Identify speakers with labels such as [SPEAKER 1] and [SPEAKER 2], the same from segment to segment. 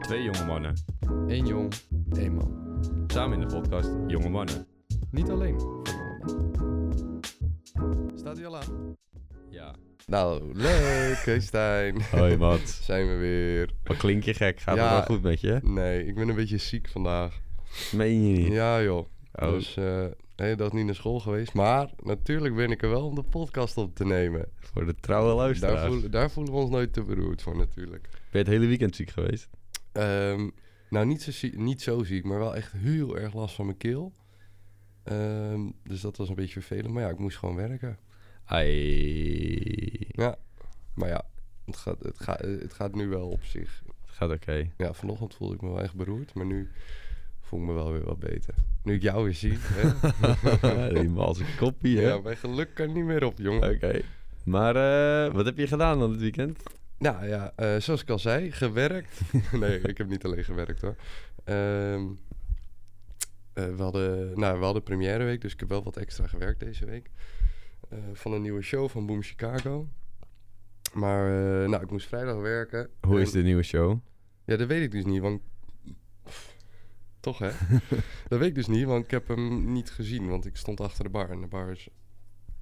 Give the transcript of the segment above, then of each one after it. [SPEAKER 1] Twee jonge mannen,
[SPEAKER 2] Eén jong, één man.
[SPEAKER 1] samen in de podcast Jonge Mannen.
[SPEAKER 2] Niet alleen voor jonge mannen. Staat hij al aan?
[SPEAKER 1] Ja.
[SPEAKER 2] Nou, leuk, hè, Stijn.
[SPEAKER 1] Hoi Mats,
[SPEAKER 2] Zijn we weer.
[SPEAKER 1] wat klink je gek? Gaat
[SPEAKER 2] Ja.
[SPEAKER 1] het wel goed met je?
[SPEAKER 2] Nee, ik ben een beetje ziek vandaag.
[SPEAKER 1] Meen je niet?
[SPEAKER 2] Ja, joh.
[SPEAKER 1] Oh,
[SPEAKER 2] Dus eh hele dag niet naar school geweest. Maar natuurlijk ben ik er wel om de podcast op te nemen.
[SPEAKER 1] voor de trouwe luisteraars.
[SPEAKER 2] Daar voelen, daar voelen we ons nooit te beroerd voor, natuurlijk.
[SPEAKER 1] Ben je het hele weekend ziek geweest?
[SPEAKER 2] Ehm, nou, niet zo, ziek, niet zo ziek, maar wel echt heel erg last van mijn keel. Ehm, dus dat was een beetje vervelend. Maar ja, ik moest gewoon werken.
[SPEAKER 1] Ai.
[SPEAKER 2] Ja, maar ja, het gaat, het gaat, het gaat nu wel op zich.
[SPEAKER 1] Het gaat oké.
[SPEAKER 2] Ja, vanochtend voelde ik me wel echt beroerd, maar nu voel ik me wel weer wat beter. Nu ik jou weer zie, hè?
[SPEAKER 1] Die malse koppie, hè?
[SPEAKER 2] ja, mijn geluk kan niet meer op, jongen.
[SPEAKER 1] Oké. Maar eh, wat heb je gedaan dan dit weekend?
[SPEAKER 2] Nou ja, eh, zoals ik al zei, gewerkt. nee, ik heb niet alleen gewerkt hoor. Ehm, eh, we, hadden, nou, we hadden première week, dus ik heb wel wat extra gewerkt deze week. Eh, van een nieuwe show van Boom Chicago. Maar eh, nou, ik moest vrijdag werken.
[SPEAKER 1] Hoe
[SPEAKER 2] En-
[SPEAKER 1] is de nieuwe show?
[SPEAKER 2] Ja, dat weet ik dus niet, want... Toch, hè? dat weet ik dus niet, want ik heb hem niet gezien. Want ik stond achter de bar en de bar is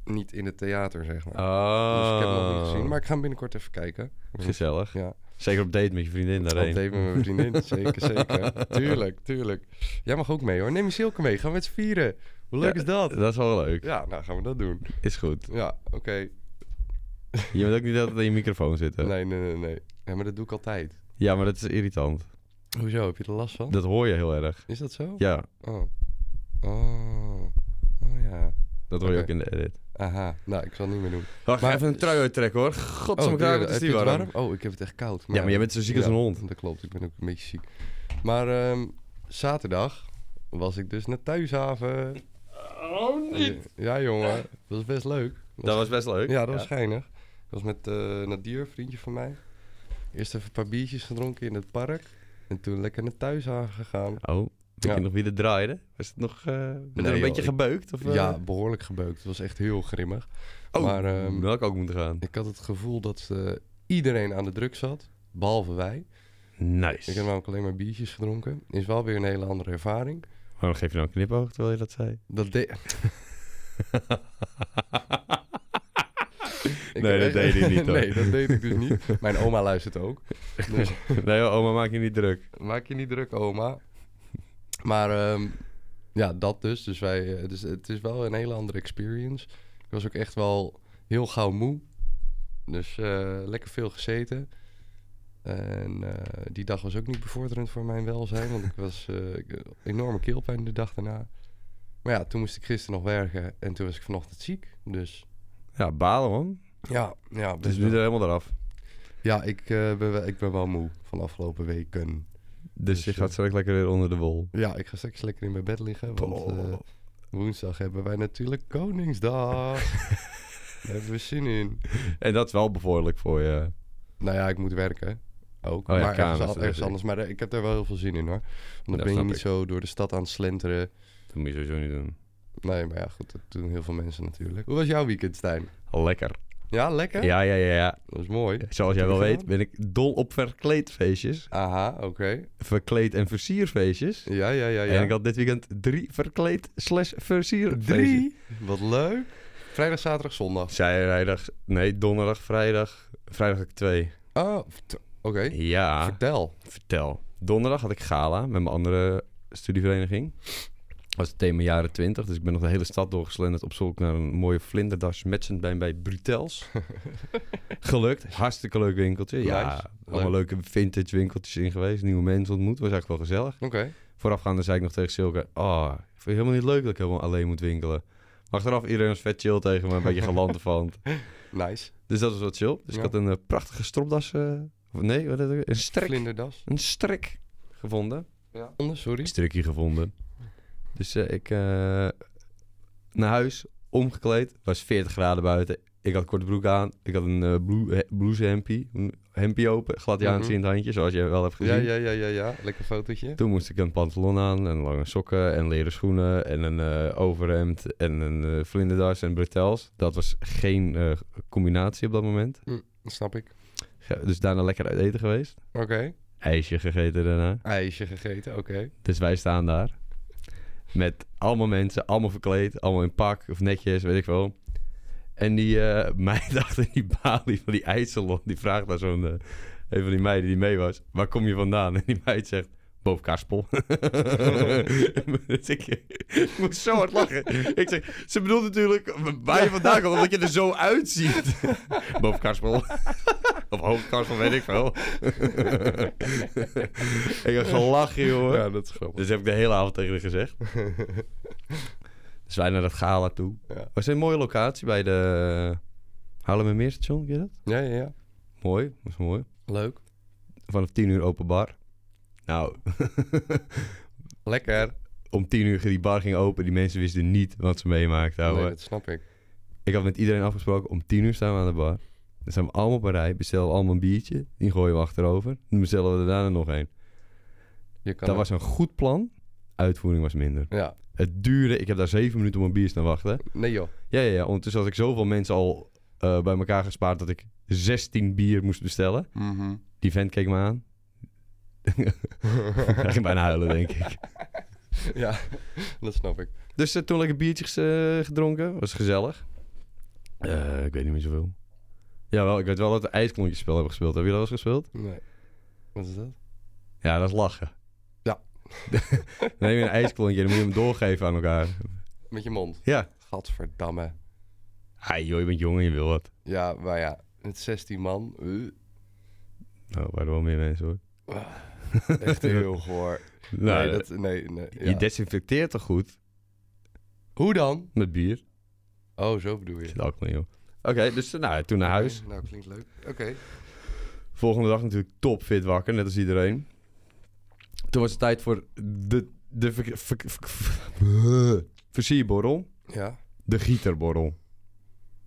[SPEAKER 2] niet in het theater, zeg maar.
[SPEAKER 1] Oh.
[SPEAKER 2] Dus ik heb hem nog niet gezien, maar ik ga hem binnenkort even kijken.
[SPEAKER 1] Gezellig.
[SPEAKER 2] Ja.
[SPEAKER 1] Zeker op date met je vriendin
[SPEAKER 2] Dat
[SPEAKER 1] daarheen.
[SPEAKER 2] deed met mijn vriendin, zeker, zeker. Tuurlijk, tuurlijk. Jij mag ook mee, hoor. Neem je Silke mee, gaan we met z'n vieren. Hoe leuk
[SPEAKER 1] Ja,
[SPEAKER 2] is dat?
[SPEAKER 1] Dat is wel leuk.
[SPEAKER 2] Ja, nou gaan we dat doen.
[SPEAKER 1] Is goed.
[SPEAKER 2] Ja, oké.
[SPEAKER 1] Je moet ook niet altijd in je microfoon zitten.
[SPEAKER 2] Nee, nee, nee, nee. Ja, maar dat doe ik altijd.
[SPEAKER 1] Ja, maar dat is irritant.
[SPEAKER 2] Hoezo, heb je er last van?
[SPEAKER 1] Dat hoor je heel erg.
[SPEAKER 2] Is dat zo?
[SPEAKER 1] Ja,
[SPEAKER 2] Oh. Oh. Oh ja.
[SPEAKER 1] dat hoor je
[SPEAKER 2] Oké.
[SPEAKER 1] ook in de edit.
[SPEAKER 2] Aha, nou, ik zal het niet meer doen.
[SPEAKER 1] Wacht,
[SPEAKER 2] Maar-
[SPEAKER 1] even een trui uittrekken hoor. Godzame kraak, wat
[SPEAKER 2] heb
[SPEAKER 1] is
[SPEAKER 2] je
[SPEAKER 1] die
[SPEAKER 2] het
[SPEAKER 1] warm.
[SPEAKER 2] Oh, ik heb het echt koud.
[SPEAKER 1] Ja, maar jij bent zo ziek als
[SPEAKER 2] Ja,
[SPEAKER 1] een hond.
[SPEAKER 2] Dat klopt, ik ben ook een beetje ziek. Maar ehm, zaterdag was ik dus naar Thuishaven.
[SPEAKER 1] Oh,
[SPEAKER 2] Ja, jongen, dat was best leuk.
[SPEAKER 1] Dat was best leuk.
[SPEAKER 2] Ja, dat was geinig. Ik was met eh Nadir, een vriendje van mij. Eerst even een paar biertjes gedronken in het park. En toen lekker naar Thuishaven gegaan.
[SPEAKER 1] Oh, weet
[SPEAKER 2] Ja.
[SPEAKER 1] je nog wie er draaide? Was het nog... eh werd
[SPEAKER 2] Nee,
[SPEAKER 1] er een
[SPEAKER 2] joh,
[SPEAKER 1] beetje
[SPEAKER 2] ik-
[SPEAKER 1] gebeukt? Of, eh?
[SPEAKER 2] Ja, behoorlijk gebeukt. Het was echt heel grimmig.
[SPEAKER 1] Oh,
[SPEAKER 2] maar, ehm,
[SPEAKER 1] dan had ik ook moeten gaan.
[SPEAKER 2] Ik had het gevoel dat eh, iedereen aan de druk zat, behalve wij.
[SPEAKER 1] Nice.
[SPEAKER 2] Ik heb namelijk alleen maar biertjes gedronken. Is wel weer een hele andere ervaring.
[SPEAKER 1] Waarom geef je nou een knipoog terwijl je dat zei?
[SPEAKER 2] Dat deed. Ik
[SPEAKER 1] Nee,
[SPEAKER 2] heb
[SPEAKER 1] dat
[SPEAKER 2] echt-
[SPEAKER 1] deed hij niet, hoor.
[SPEAKER 2] nee, dat deed ik dus niet. Mijn oma luistert ook. Dus
[SPEAKER 1] nee joh, oma, maak je niet druk.
[SPEAKER 2] maak je niet druk, oma. Maar ehm, ja, dat dus. Dus wij, eh, dus het is wel een hele andere experience. Ik was ook echt wel heel gauw moe. Dus eh, lekker veel gezeten. En eh, die dag was ook niet bevorderend voor mijn welzijn. Want ik was eh, ik- enorme keelpijn de dag daarna. Maar ja, toen moest ik gisteren nog werken. En toen was ik vanochtend ziek. Dus
[SPEAKER 1] Ja, balen man.
[SPEAKER 2] ja, ja,
[SPEAKER 1] Dus
[SPEAKER 2] best
[SPEAKER 1] nu er
[SPEAKER 2] wel.
[SPEAKER 1] helemaal eraf.
[SPEAKER 2] ja ik, eh, ben, wel- ik ben wel moe van de afgelopen weken.
[SPEAKER 1] Dus,
[SPEAKER 2] Dus,
[SPEAKER 1] je
[SPEAKER 2] eh,
[SPEAKER 1] gaat straks lekker weer onder de wol.
[SPEAKER 2] Ja, ik ga straks lekker in mijn bed liggen. Want
[SPEAKER 1] Oh.
[SPEAKER 2] eh, woensdag hebben wij natuurlijk Koningsdag. Daar hebben we zin in.
[SPEAKER 1] En dat is wel bevorderlijk voor je.
[SPEAKER 2] Nou ja, ik moet werken. Ook.
[SPEAKER 1] Oh ja,
[SPEAKER 2] maar ergens,
[SPEAKER 1] kamers,
[SPEAKER 2] al-
[SPEAKER 1] dat
[SPEAKER 2] ergens
[SPEAKER 1] weet ik.
[SPEAKER 2] anders. Maar eh, ik heb daar wel heel veel zin in hoor. Want
[SPEAKER 1] Dat
[SPEAKER 2] dan ben je
[SPEAKER 1] snap
[SPEAKER 2] niet
[SPEAKER 1] ik.
[SPEAKER 2] zo door de stad aan het slenteren.
[SPEAKER 1] Dat moet je sowieso niet doen.
[SPEAKER 2] Nee, maar ja, goed. Dat doen heel veel mensen natuurlijk. Hoe was jouw weekend, Stijn?
[SPEAKER 1] Lekker.
[SPEAKER 2] Ja, lekker?
[SPEAKER 1] Ja, ja, ja, ja.
[SPEAKER 2] Dat is mooi.
[SPEAKER 1] Zoals jij
[SPEAKER 2] Heb
[SPEAKER 1] wel
[SPEAKER 2] je
[SPEAKER 1] weet
[SPEAKER 2] gedaan?
[SPEAKER 1] ben ik dol op verkleedfeestjes.
[SPEAKER 2] Aha, oké.
[SPEAKER 1] Verkleed- en versierfeestjes.
[SPEAKER 2] Ja, ja, ja, Oh, ja.
[SPEAKER 1] En ik had dit weekend drie verkleed slash versierfeestjes.
[SPEAKER 2] Drie? Wat leuk. Vrijdag, zaterdag, zondag.
[SPEAKER 1] Vrijdag, nee, donderdag, vrijdag. Vrijdag had ik twee.
[SPEAKER 2] Oh, t- oké.
[SPEAKER 1] Ja,
[SPEAKER 2] Vertel.
[SPEAKER 1] vertel. Donderdag had ik gala met mijn andere studievereniging. Dat was het thema jaren 20, dus ik ben nog de hele stad doorgeslenderd op zoek naar een mooie vlinderdas matchend bij, bij Brutels. Gelukt, hartstikke leuk winkeltje.
[SPEAKER 2] Nice.
[SPEAKER 1] Ja, allemaal leuke vintage winkeltjes in geweest, nieuwe mensen ontmoet, was eigenlijk wel gezellig.
[SPEAKER 2] Oké.
[SPEAKER 1] Voorafgaande zei ik nog tegen Silke... Oh, ik vind het helemaal niet leuk dat ik helemaal alleen moet winkelen. Maar achteraf, iedereen was vet chill tegen me. Een beetje gelandevand.
[SPEAKER 2] Nice.
[SPEAKER 1] Dus dat was wat chill. Dus
[SPEAKER 2] Ja.
[SPEAKER 1] ik had een eh, prachtige stropdas... eh, of nee, wat is het ook? een strik.
[SPEAKER 2] Vlinderdas.
[SPEAKER 1] Een strik gevonden.
[SPEAKER 2] Ja. Anders, sorry.
[SPEAKER 1] Een strikje gevonden. Dus eh, ik... eh, naar huis, omgekleed. was 40 graden buiten. Ik had korte broek aan. Ik had een eh blue, he- blouse hempie. Een hempie open. Gladiaans
[SPEAKER 2] Mhm.
[SPEAKER 1] in het handje, zoals je wel hebt
[SPEAKER 2] Ja,
[SPEAKER 1] gezien.
[SPEAKER 2] ja, ja, ja, ja. Lekker fotootje.
[SPEAKER 1] Toen moest ik een pantalon aan en lange sokken en leren schoenen en een eh, overhemd en een eh, vlinderdas en bretels. Dat was geen eh, combinatie op dat moment.
[SPEAKER 2] Snap ik.
[SPEAKER 1] Ge- Dus daarna lekker uit eten geweest.
[SPEAKER 2] Oké.
[SPEAKER 1] ijsje gegeten daarna.
[SPEAKER 2] IJsje gegeten, oké.
[SPEAKER 1] Dus wij staan daar. Met allemaal mensen, allemaal verkleed, allemaal in pak of netjes, weet ik wel. En die eh, meid achter die balie van die ijssalon, die vraagt daar zo'n... eh, een van die meiden die mee was, waar kom je vandaan? En die meid zegt, boven Karspel. dus ik, ik moest zo hard lachen. Ik zeg, ze bedoelt natuurlijk waar je vandaan komt, omdat je er zo uitziet. boven Karspel. of hoog Karspel, weet ik wel. ik heb gelachen, joh.
[SPEAKER 2] Ja, dat is grappig.
[SPEAKER 1] Dus heb ik de hele avond tegen haar gezegd. dus wij naar dat gala toe.
[SPEAKER 2] Ja.
[SPEAKER 1] Was een mooie locatie bij de Haarlemmermeerstation, ken je dat?
[SPEAKER 2] Ja, ja, ja.
[SPEAKER 1] Mooi, was mooi.
[SPEAKER 2] Leuk.
[SPEAKER 1] Vanaf 10 uur open bar. Nou,
[SPEAKER 2] Lekker.
[SPEAKER 1] om 10 uur die bar ging open. Die mensen wisten niet wat ze meemaakten. ouwe.
[SPEAKER 2] Nee, dat snap ik.
[SPEAKER 1] Ik had met iedereen afgesproken, om 10 uur staan we aan de bar. Dan zijn we allemaal op een rij, bestellen we allemaal een biertje. Die gooien we achterover. Dan bestellen we er daarna nog een.
[SPEAKER 2] Je kan
[SPEAKER 1] Dat was een goed plan. Uitvoering was minder.
[SPEAKER 2] Ja.
[SPEAKER 1] Het duurde, ik heb daar 7 minuten op een bier staan wachten.
[SPEAKER 2] Nee joh.
[SPEAKER 1] Ja, ja, ja. Ondertussen had ik zoveel mensen al eh, bij elkaar gespaard dat ik 16 bier moest bestellen.
[SPEAKER 2] Mhm.
[SPEAKER 1] Die vent keek me aan. Hij ging bijna huilen, denk ik.
[SPEAKER 2] ja, dat snap ik.
[SPEAKER 1] Dus eh, toen lekker biertjes eh, gedronken. Was gezellig. Eh, ik weet niet meer zoveel. Jawel, ik weet wel dat we ijsklontjespel hebben gespeeld. Hebben jullie dat wel eens gespeeld?
[SPEAKER 2] Nee. Wat is dat?
[SPEAKER 1] Ja, dat is lachen.
[SPEAKER 2] Ja.
[SPEAKER 1] dan neem je een ijsklontje en dan moet je hem doorgeven aan elkaar.
[SPEAKER 2] Met je mond.
[SPEAKER 1] Ja.
[SPEAKER 2] Gadverdamme.
[SPEAKER 1] Hai Ah, joh, je bent jong en je wil wat.
[SPEAKER 2] Ja, maar ja. Het 16 man. Uh,
[SPEAKER 1] Nou, waar wel meer mensen hoor.
[SPEAKER 2] echt heel goor.
[SPEAKER 1] Nou,
[SPEAKER 2] nee, dat, nee, nee. ja.
[SPEAKER 1] je desinfecteert toch goed
[SPEAKER 2] Hoe dan?
[SPEAKER 1] met bier?
[SPEAKER 2] Oh, zo bedoel
[SPEAKER 1] Er
[SPEAKER 2] je.
[SPEAKER 1] zit alcohol in, joh. Oké, dus eh, nou, toen naar huis.
[SPEAKER 2] Oké, nou, klinkt leuk. Oké.
[SPEAKER 1] Volgende dag natuurlijk topfit wakker, net als iedereen. Toen was het tijd voor de, de ver- ver- ver- ver- versierborrel.
[SPEAKER 2] Ja.
[SPEAKER 1] De gieterborrel.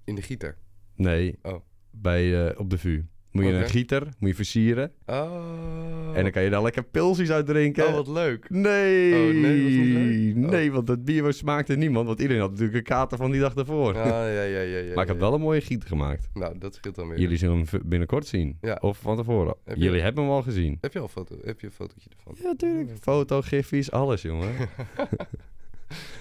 [SPEAKER 2] In de gieter.
[SPEAKER 1] Nee,
[SPEAKER 2] Oh.
[SPEAKER 1] bij, eh, op de VU. Moet je
[SPEAKER 2] Oké.
[SPEAKER 1] een gieter, moet je versieren.
[SPEAKER 2] Oh.
[SPEAKER 1] En dan kan je daar lekker pilsies uit drinken.
[SPEAKER 2] Oh, wat leuk.
[SPEAKER 1] Nee,
[SPEAKER 2] Oh, nee, was niet leuk? Oh.
[SPEAKER 1] nee, want dat bier was- smaakte niemand. Want iedereen had natuurlijk een kater van die dag daarvoor.
[SPEAKER 2] Ah, ja, ja, ja, ja.
[SPEAKER 1] maar ik heb wel een mooie gieter gemaakt.
[SPEAKER 2] Nou, dat scheelt dan weer.
[SPEAKER 1] Jullie zullen hem v- binnenkort zien.
[SPEAKER 2] Ja.
[SPEAKER 1] Of van tevoren.
[SPEAKER 2] Heb je-
[SPEAKER 1] Jullie hebben hem al gezien.
[SPEAKER 2] Heb je al een foto? Heb je een fotootje ervan?
[SPEAKER 1] Ja, tuurlijk. Foto, giffies, alles, jongen.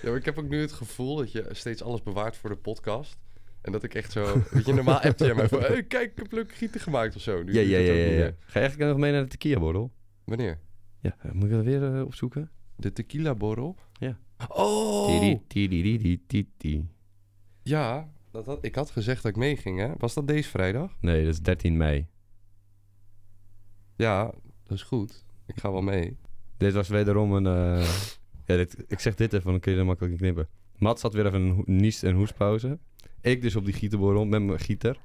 [SPEAKER 2] Ja, maar ik heb ook nu het gevoel dat je steeds alles bewaart voor de podcast. En dat ik echt zo... Weet je, normaal appt jij mij van... Hey, kijk, ik heb leuke gieten gemaakt of zo. Nu
[SPEAKER 1] ja,
[SPEAKER 2] doe
[SPEAKER 1] ja,
[SPEAKER 2] ik
[SPEAKER 1] ja,
[SPEAKER 2] dat ook
[SPEAKER 1] ja, ja.
[SPEAKER 2] niet meer.
[SPEAKER 1] Ga je eigenlijk nog mee naar de tequila-borrel?
[SPEAKER 2] Wanneer?
[SPEAKER 1] Ja, eh, moet ik dat weer eh, opzoeken?
[SPEAKER 2] De tequila borrel?
[SPEAKER 1] Ja.
[SPEAKER 2] Oh!
[SPEAKER 1] Tiri, tiri, tiri, tiri, tiri.
[SPEAKER 2] Ja, dat had, ik had gezegd dat ik meeging, hè? Was dat deze vrijdag?
[SPEAKER 1] Nee, dat is 13 mei.
[SPEAKER 2] Ja, dat is goed. Ik ga wel mee.
[SPEAKER 1] Dit was wederom een... eh, ja, dit, ik zeg dit even, dan kun je er makkelijk in knippen. Mats had weer even een ho- niest- en hoespauze. Ik dus op die gieterborrel met mijn gieter.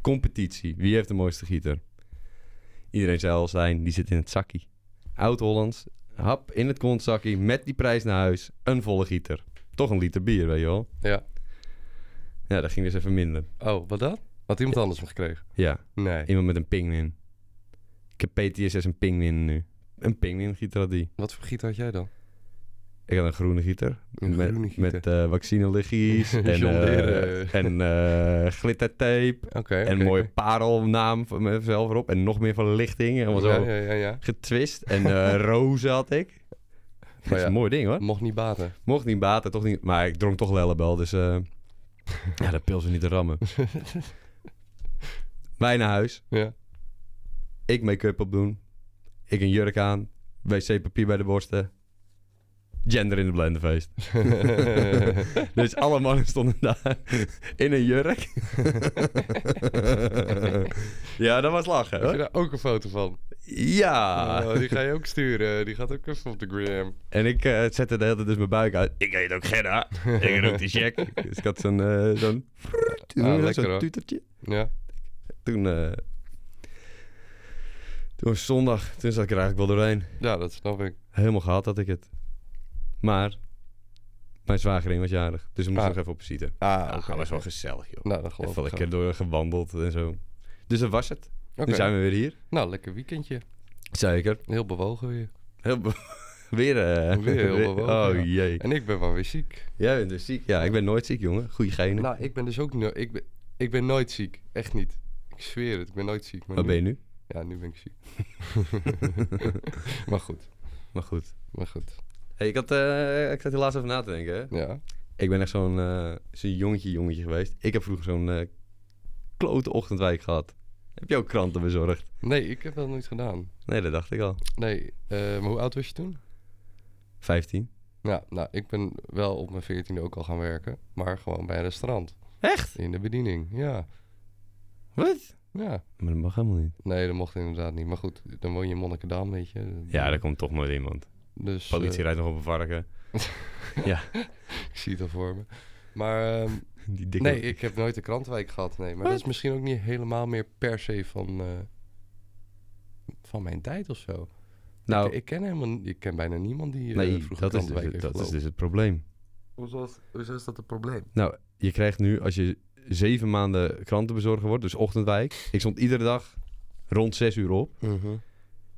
[SPEAKER 1] Competitie. Wie heeft de mooiste gieter? Iedereen zei al zijn, die zit in het zakkie. Oud-Hollands, hap in het kontzakkie, met die prijs naar huis. Een volle gieter. Toch een liter bier, weet je wel.
[SPEAKER 2] Ja.
[SPEAKER 1] Ja, dat ging dus even minder.
[SPEAKER 2] Oh, wat dat? Had iemand anders hem gekregen?
[SPEAKER 1] Ja,
[SPEAKER 2] Nee.
[SPEAKER 1] iemand met een pingwin. Ik heb PTSS een pingwin nu. Een pingwin gieter had die.
[SPEAKER 2] Wat voor giet had jij dan?
[SPEAKER 1] Ik had een groene gieter.
[SPEAKER 2] Een
[SPEAKER 1] met
[SPEAKER 2] groene gieter.
[SPEAKER 1] met eh, vaccineligies en, eh,
[SPEAKER 2] Jonderen.
[SPEAKER 1] en eh, glittertape.
[SPEAKER 2] Oké.
[SPEAKER 1] en een
[SPEAKER 2] oké,
[SPEAKER 1] mooie
[SPEAKER 2] oké.
[SPEAKER 1] parelnaam van mezelf erop. En nog meer verlichting. Helemaal zo
[SPEAKER 2] Ja, ja, ja, ja.
[SPEAKER 1] getwist. En eh rozen had ik. Dat is
[SPEAKER 2] Oh ja.
[SPEAKER 1] een mooi ding hoor.
[SPEAKER 2] Mocht niet baten.
[SPEAKER 1] Mocht niet baten, toch niet. Maar ik dronk toch lellebel, dus... eh, ja, dat pil ze niet te rammen. Wij naar huis.
[SPEAKER 2] Ja.
[SPEAKER 1] Ik make-up opdoen. Ik een jurk aan. Wc-papier bij de borsten. Gender in de blenderfeest. dus alle mannen stonden daar in een jurk. ja, dat was lachen.
[SPEAKER 2] Heb je
[SPEAKER 1] Hoor.
[SPEAKER 2] daar ook een foto van?
[SPEAKER 1] Ja.
[SPEAKER 2] Oh, die ga je ook sturen. Die gaat ook even op de gram.
[SPEAKER 1] En ik eh, zette de hele tijd dus mijn buik uit. Ik heet ook Gerda. ik rook die check. Dus ik had zo'n... eh, zo'n
[SPEAKER 2] Ah, lekker,
[SPEAKER 1] zo'n
[SPEAKER 2] hoor.
[SPEAKER 1] tutertje.
[SPEAKER 2] Ja.
[SPEAKER 1] Toen... eh, toen was zondag. Toen zat ik er eigenlijk wel doorheen.
[SPEAKER 2] ja, dat snap ik.
[SPEAKER 1] Helemaal gehad had ik het. Maar... Mijn zwagerin was jarig. Dus we moesten
[SPEAKER 2] Ah.
[SPEAKER 1] nog even op visite.
[SPEAKER 2] Ah,
[SPEAKER 1] Ah,
[SPEAKER 2] oké.
[SPEAKER 1] dat was wel gezellig, joh.
[SPEAKER 2] Nou, dat geloof
[SPEAKER 1] Even
[SPEAKER 2] ik.
[SPEAKER 1] lekker door gewandeld en zo. Dus dat was het.
[SPEAKER 2] wel. Oké.
[SPEAKER 1] Nu zijn we weer hier.
[SPEAKER 2] Nou, lekker weekendje.
[SPEAKER 1] Zeker.
[SPEAKER 2] Heel bewogen weer.
[SPEAKER 1] Heel be- weer... eh,
[SPEAKER 2] Weer heel bewogen,
[SPEAKER 1] Oh
[SPEAKER 2] ja.
[SPEAKER 1] jee.
[SPEAKER 2] En ik ben wel weer ziek.
[SPEAKER 1] Jij bent dus ziek. Ja, ik ben nooit ziek, jongen. Goeie genen.
[SPEAKER 2] Nou, ik ben dus ook... no- ik, ben, ik ben nooit ziek. Echt niet. Ik zweer het. Ik ben nooit ziek. Maar
[SPEAKER 1] Waar ben je nu?
[SPEAKER 2] nu- Ja, nu ben ik ziek. maar goed,
[SPEAKER 1] Maar goed.
[SPEAKER 2] maar goed.
[SPEAKER 1] Hey, ik, had, eh, ik zat hier laatst over na te denken. Hè?
[SPEAKER 2] Ja.
[SPEAKER 1] Ik ben echt zo'n eh, zo'n jongetje jongetje geweest. Ik heb vroeger zo'n eh klote ochtendwijk gehad. Heb je ook kranten bezorgd?
[SPEAKER 2] Nee, ik heb dat nooit gedaan.
[SPEAKER 1] Nee, dat dacht ik al.
[SPEAKER 2] Nee, eh, maar hoe oud was je toen?
[SPEAKER 1] 15.
[SPEAKER 2] Ja, nou, ik ben wel op mijn veertiende ook al gaan werken. Maar gewoon bij een restaurant.
[SPEAKER 1] Echt?
[SPEAKER 2] In de bediening, ja.
[SPEAKER 1] Wat?
[SPEAKER 2] Ja.
[SPEAKER 1] Maar dat mag helemaal niet.
[SPEAKER 2] Nee, dat mocht inderdaad niet. Maar goed, dan woon je in Monnikendam, weet je.
[SPEAKER 1] Ja, daar komt toch nooit iemand.
[SPEAKER 2] Dus, eh,
[SPEAKER 1] Politie rijdt nog op een varken.
[SPEAKER 2] ik zie het al voor me. Maar ehm,
[SPEAKER 1] Die dikke...
[SPEAKER 2] nee, ik heb nooit de krantwijk gehad, nee. Maar dat is misschien ook niet helemaal meer per se van, eh, van mijn tijd of zo.
[SPEAKER 1] nou,
[SPEAKER 2] Ik, ik ken helemaal, n- ik ken bijna niemand die eh,
[SPEAKER 1] nee, dat, is dus,
[SPEAKER 2] vroeger krantwijk
[SPEAKER 1] het-
[SPEAKER 2] heeft
[SPEAKER 1] dat is
[SPEAKER 2] gelopen.
[SPEAKER 1] dus het probleem.
[SPEAKER 2] Hoezo is, hoezo is dat een probleem?
[SPEAKER 1] Nou, je krijgt nu, als je zeven maanden krantenbezorger wordt, dus ochtendwijk. Ik stond iedere dag rond zes uur op.
[SPEAKER 2] Mhm.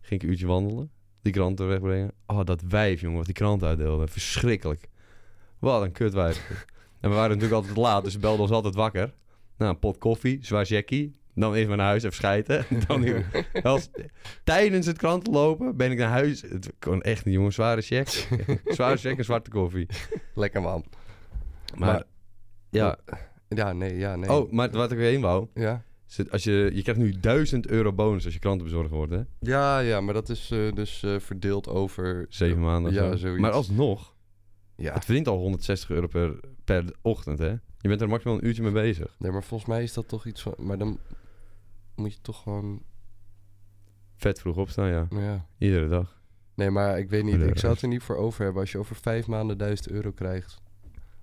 [SPEAKER 1] Ging ik een uurtje wandelen. Die kranten wegbrengen. Oh, dat wijf, jongen, wat die krant uitdeelde. Verschrikkelijk. Wat een kutwijf. en we waren natuurlijk altijd laat, dus ze belden ons altijd wakker. Nou, een pot koffie, zwaar jackie. Dan even naar huis, even schijten. Dan weer- Als, tijdens het krantenlopen ben ik naar huis. Het kon echt niet, jongen. Zware check. Zware check en zwarte koffie.
[SPEAKER 2] Lekker man.
[SPEAKER 1] Maar,
[SPEAKER 2] Maar-
[SPEAKER 1] ja.
[SPEAKER 2] Ja, nee, ja, nee.
[SPEAKER 1] Oh, maar wat ik weer heen wou.
[SPEAKER 2] Ja,
[SPEAKER 1] Zit- Als je, je krijgt nu 1000 euro bonus als je krantenbezorger wordt, hè?
[SPEAKER 2] ja, ja maar dat is eh, dus eh, verdeeld over...
[SPEAKER 1] Zeven maanden. of
[SPEAKER 2] Ja,
[SPEAKER 1] zo.
[SPEAKER 2] zoiets. Ah.
[SPEAKER 1] Maar alsnog,
[SPEAKER 2] Ja,
[SPEAKER 1] het verdient al 160 euro per, per ochtend, hè? Je bent er maximaal een uurtje mee bezig.
[SPEAKER 2] nee, maar volgens mij is dat toch iets van... Maar dan moet je toch gewoon... nou
[SPEAKER 1] Vet vroeg opstaan, ja.
[SPEAKER 2] Ja.
[SPEAKER 1] Iedere dag.
[SPEAKER 2] Nee, maar ik weet niet.
[SPEAKER 1] Kleurig.
[SPEAKER 2] Ik zou het er niet voor over hebben als je over vijf maanden duizend euro krijgt.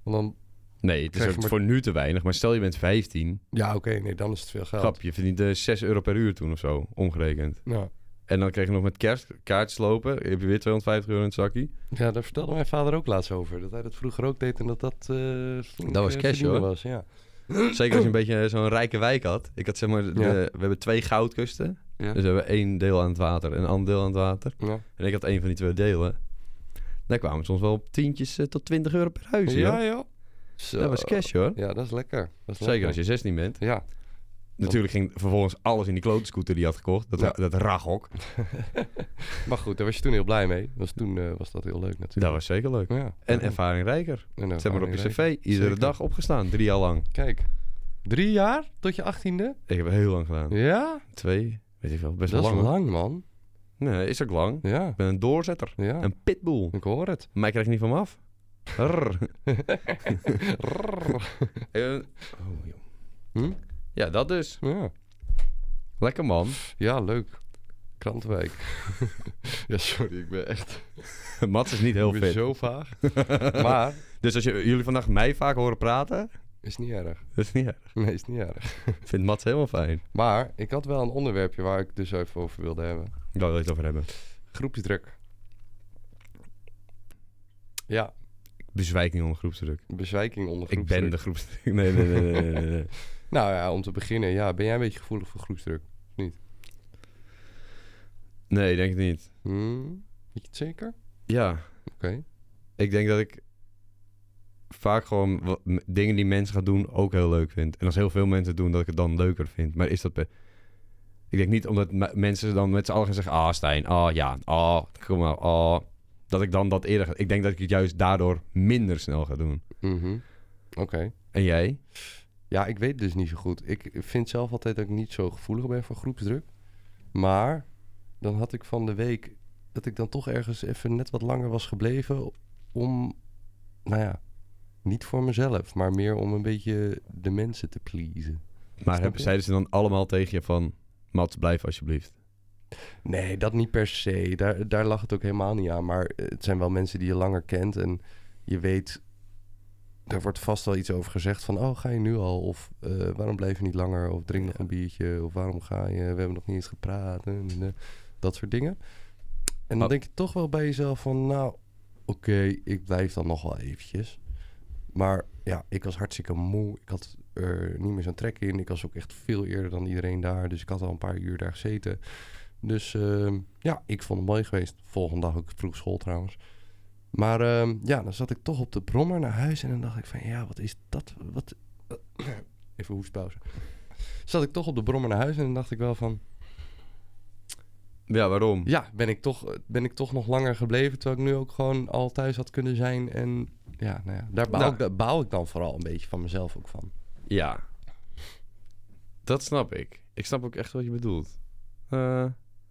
[SPEAKER 2] Want dan...
[SPEAKER 1] Nee, het is
[SPEAKER 2] Krijg
[SPEAKER 1] ook
[SPEAKER 2] je maar-
[SPEAKER 1] voor nu te weinig. Maar stel je bent 15.
[SPEAKER 2] Ja, oké, nee, dan is het veel geld.
[SPEAKER 1] Grap, je verdient eh, 6 euro per uur toen of zo, omgerekend.
[SPEAKER 2] Ja.
[SPEAKER 1] En dan kreeg je nog met kerst kaartjes lopen. Heb je weer 250 euro in het zakje.
[SPEAKER 2] ja, daar vertelde mijn vader ook laatst over. Dat hij dat vroeger ook deed en dat dat... eh, flink,
[SPEAKER 1] was
[SPEAKER 2] eh,
[SPEAKER 1] cash,
[SPEAKER 2] verdienen
[SPEAKER 1] hoor.
[SPEAKER 2] Was, ja.
[SPEAKER 1] Zeker als je een beetje eh, zo'n rijke wijk had. Ik had zeg maar, de-
[SPEAKER 2] Ja.
[SPEAKER 1] we hebben twee goudkusten.
[SPEAKER 2] Ja.
[SPEAKER 1] Dus we hebben één deel aan het water en een ander deel aan het water.
[SPEAKER 2] Ja.
[SPEAKER 1] En ik had één van die twee delen. Daar kwamen soms wel op tientjes eh, tot 20 euro per huis. joh.
[SPEAKER 2] ja. Zo.
[SPEAKER 1] Dat was cash hoor.
[SPEAKER 2] Ja, dat is lekker. Dat is
[SPEAKER 1] Zeker
[SPEAKER 2] lekker.
[SPEAKER 1] als je 16 bent.
[SPEAKER 2] Ja,
[SPEAKER 1] Natuurlijk ging vervolgens alles in die klote scooter die je had gekocht. Dat,
[SPEAKER 2] Ja.
[SPEAKER 1] dat raghok.
[SPEAKER 2] maar goed, daar was je toen heel blij mee. Was toen eh, was dat heel leuk
[SPEAKER 1] Dat
[SPEAKER 2] natuurlijk.
[SPEAKER 1] was zeker leuk.
[SPEAKER 2] Ja.
[SPEAKER 1] En ervaring rijker.
[SPEAKER 2] En
[SPEAKER 1] Zet maar op je
[SPEAKER 2] ervaring
[SPEAKER 1] cv. Iedere
[SPEAKER 2] Zeker.
[SPEAKER 1] dag opgestaan. Drie jaar lang.
[SPEAKER 2] Kijk, drie jaar tot je achttiende?
[SPEAKER 1] Ik heb heel lang gedaan.
[SPEAKER 2] Ja,
[SPEAKER 1] Twee. Weet ik wel. Best
[SPEAKER 2] dat
[SPEAKER 1] wel lang.
[SPEAKER 2] is
[SPEAKER 1] hoor.
[SPEAKER 2] lang, man.
[SPEAKER 1] Nee, is ook lang.
[SPEAKER 2] Ja,
[SPEAKER 1] Ik ben een doorzetter.
[SPEAKER 2] ja.
[SPEAKER 1] Een pitbull.
[SPEAKER 2] Ik hoor het.
[SPEAKER 1] Mij krijg je niet van me af. Rrr.
[SPEAKER 2] Rrrr.
[SPEAKER 1] Eh, oh, joh.
[SPEAKER 2] Hm?
[SPEAKER 1] Ja, dat dus.
[SPEAKER 2] ja.
[SPEAKER 1] Lekker man.
[SPEAKER 2] ja, leuk. Krantwijk. ja, sorry, ik ben echt
[SPEAKER 1] Mats is niet heel
[SPEAKER 2] ik ben
[SPEAKER 1] fit.
[SPEAKER 2] zo vaag. maar,
[SPEAKER 1] Dus als je, jullie vandaag mij vaak horen praten,
[SPEAKER 2] is niet erg.
[SPEAKER 1] dat is niet erg.
[SPEAKER 2] Nee, is niet erg.
[SPEAKER 1] Ik vind Mats helemaal fijn.
[SPEAKER 2] Maar, ik had wel een onderwerpje waar ik dus even over wilde hebben.
[SPEAKER 1] Daar wil je het over hebben.
[SPEAKER 2] Groepsdruk. Ja,
[SPEAKER 1] Bezwijking onder groepsdruk.
[SPEAKER 2] bezwijking onder
[SPEAKER 1] Ik
[SPEAKER 2] groepsdruk.
[SPEAKER 1] ben de groepsdruk. Nee, nee, nee, nee, nee, nee, nee.
[SPEAKER 2] Nou ja, om te beginnen, ja, ben jij een beetje gevoelig voor groepsdruk?
[SPEAKER 1] Nee, denk ik niet.
[SPEAKER 2] Hmm, weet je het zeker?
[SPEAKER 1] Ja,
[SPEAKER 2] Oké.
[SPEAKER 1] ik denk dat ik vaak gewoon wat- m- dingen die mensen gaan doen ook heel leuk vind. En als heel veel mensen het doen, dat ik het dan leuker vind. Maar is dat... pe- Ik denk niet omdat me- mensen dan met z'n allen gaan zeggen... Ah, Stijn. Ah, ja. Ah, kom maar. Ah. Dat ik dan dat eerder... ga- Ik denk dat ik het juist daardoor minder snel ga doen.
[SPEAKER 2] Mhm. Oké.
[SPEAKER 1] En jij?
[SPEAKER 2] Ja, ik weet het dus niet zo goed. Ik vind zelf altijd dat ik niet zo gevoelig ben voor groepsdruk. Maar dan had ik van de week dat ik dan toch ergens even net wat langer was gebleven om, nou ja, niet voor mezelf, maar meer om een beetje de mensen te pleasen.
[SPEAKER 1] Maar
[SPEAKER 2] je?
[SPEAKER 1] hebben, zeiden ze dan allemaal tegen je van... Mats, blijf alsjeblieft.
[SPEAKER 2] Nee, dat niet per se. Daar, daar lag het ook helemaal niet aan. Maar eh, het zijn wel mensen die je langer kent en je weet. Er wordt vast wel iets over gezegd van, oh, ga je nu al? Of eh, waarom blijf je niet langer? Of drink nog een biertje? Of waarom ga je? We hebben nog niet eens gepraat. En, eh, dat soort dingen. En dan
[SPEAKER 1] Oh.
[SPEAKER 2] denk je toch wel bij jezelf van, nou, oké, ik blijf dan nog wel eventjes. Maar ja, ik was hartstikke moe. Ik had er niet meer zo'n trek in. Ik was ook echt veel eerder dan iedereen daar. Dus ik had al een paar uur daar gezeten. Dus ehm, ja, ik vond het mooi geweest. Volgende dag ook vroeg school trouwens. Maar ehm, ja, dan zat ik toch op de brommer naar huis en dan dacht ik van ja, wat is dat? Wat... eh, Even hoestpauze. Zat ik toch op de brommer naar huis en dan dacht ik wel van...
[SPEAKER 1] Ja, waarom?
[SPEAKER 2] Ja, ben ik, toch, ben ik toch nog langer gebleven. Terwijl ik nu ook gewoon al thuis had kunnen zijn. En ja, nou ja daar baal,
[SPEAKER 1] Nou.
[SPEAKER 2] ik, daar baal ik dan vooral een beetje van mezelf ook van.
[SPEAKER 1] Ja. Dat snap ik. Ik snap ook echt wat je bedoelt. Eh,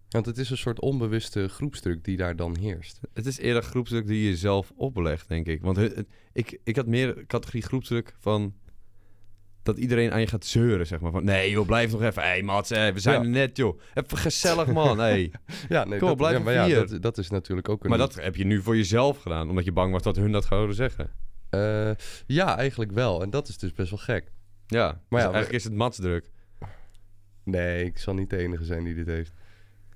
[SPEAKER 2] Want het is een soort onbewuste groepsdruk die daar dan heerst.
[SPEAKER 1] het is eerder groepsdruk die je zelf oplegt, denk ik. Want het- het- ik, ik had meer categorie groepsdruk van... Dat iedereen aan je gaat zeuren, zeg maar. Van, nee joh, blijf nog even. Hé hey, Mats, hé, we zijn
[SPEAKER 2] Ja.
[SPEAKER 1] er net joh. Even gezellig man, hé.
[SPEAKER 2] Ja, nee,
[SPEAKER 1] Kom op,
[SPEAKER 2] dat,
[SPEAKER 1] blijf
[SPEAKER 2] ja,
[SPEAKER 1] een
[SPEAKER 2] maar ja,
[SPEAKER 1] vier.
[SPEAKER 2] dat, dat is natuurlijk ook een...
[SPEAKER 1] Maar dat heb je nu voor jezelf gedaan. Omdat je bang was dat hun dat zouden zeggen.
[SPEAKER 2] Eh, ja, eigenlijk wel. En dat is dus best wel gek.
[SPEAKER 1] Ja, maar
[SPEAKER 2] we-
[SPEAKER 1] Dus eigenlijk is het matsdruk.
[SPEAKER 2] Nee, ik zal niet de enige zijn die dit heeft.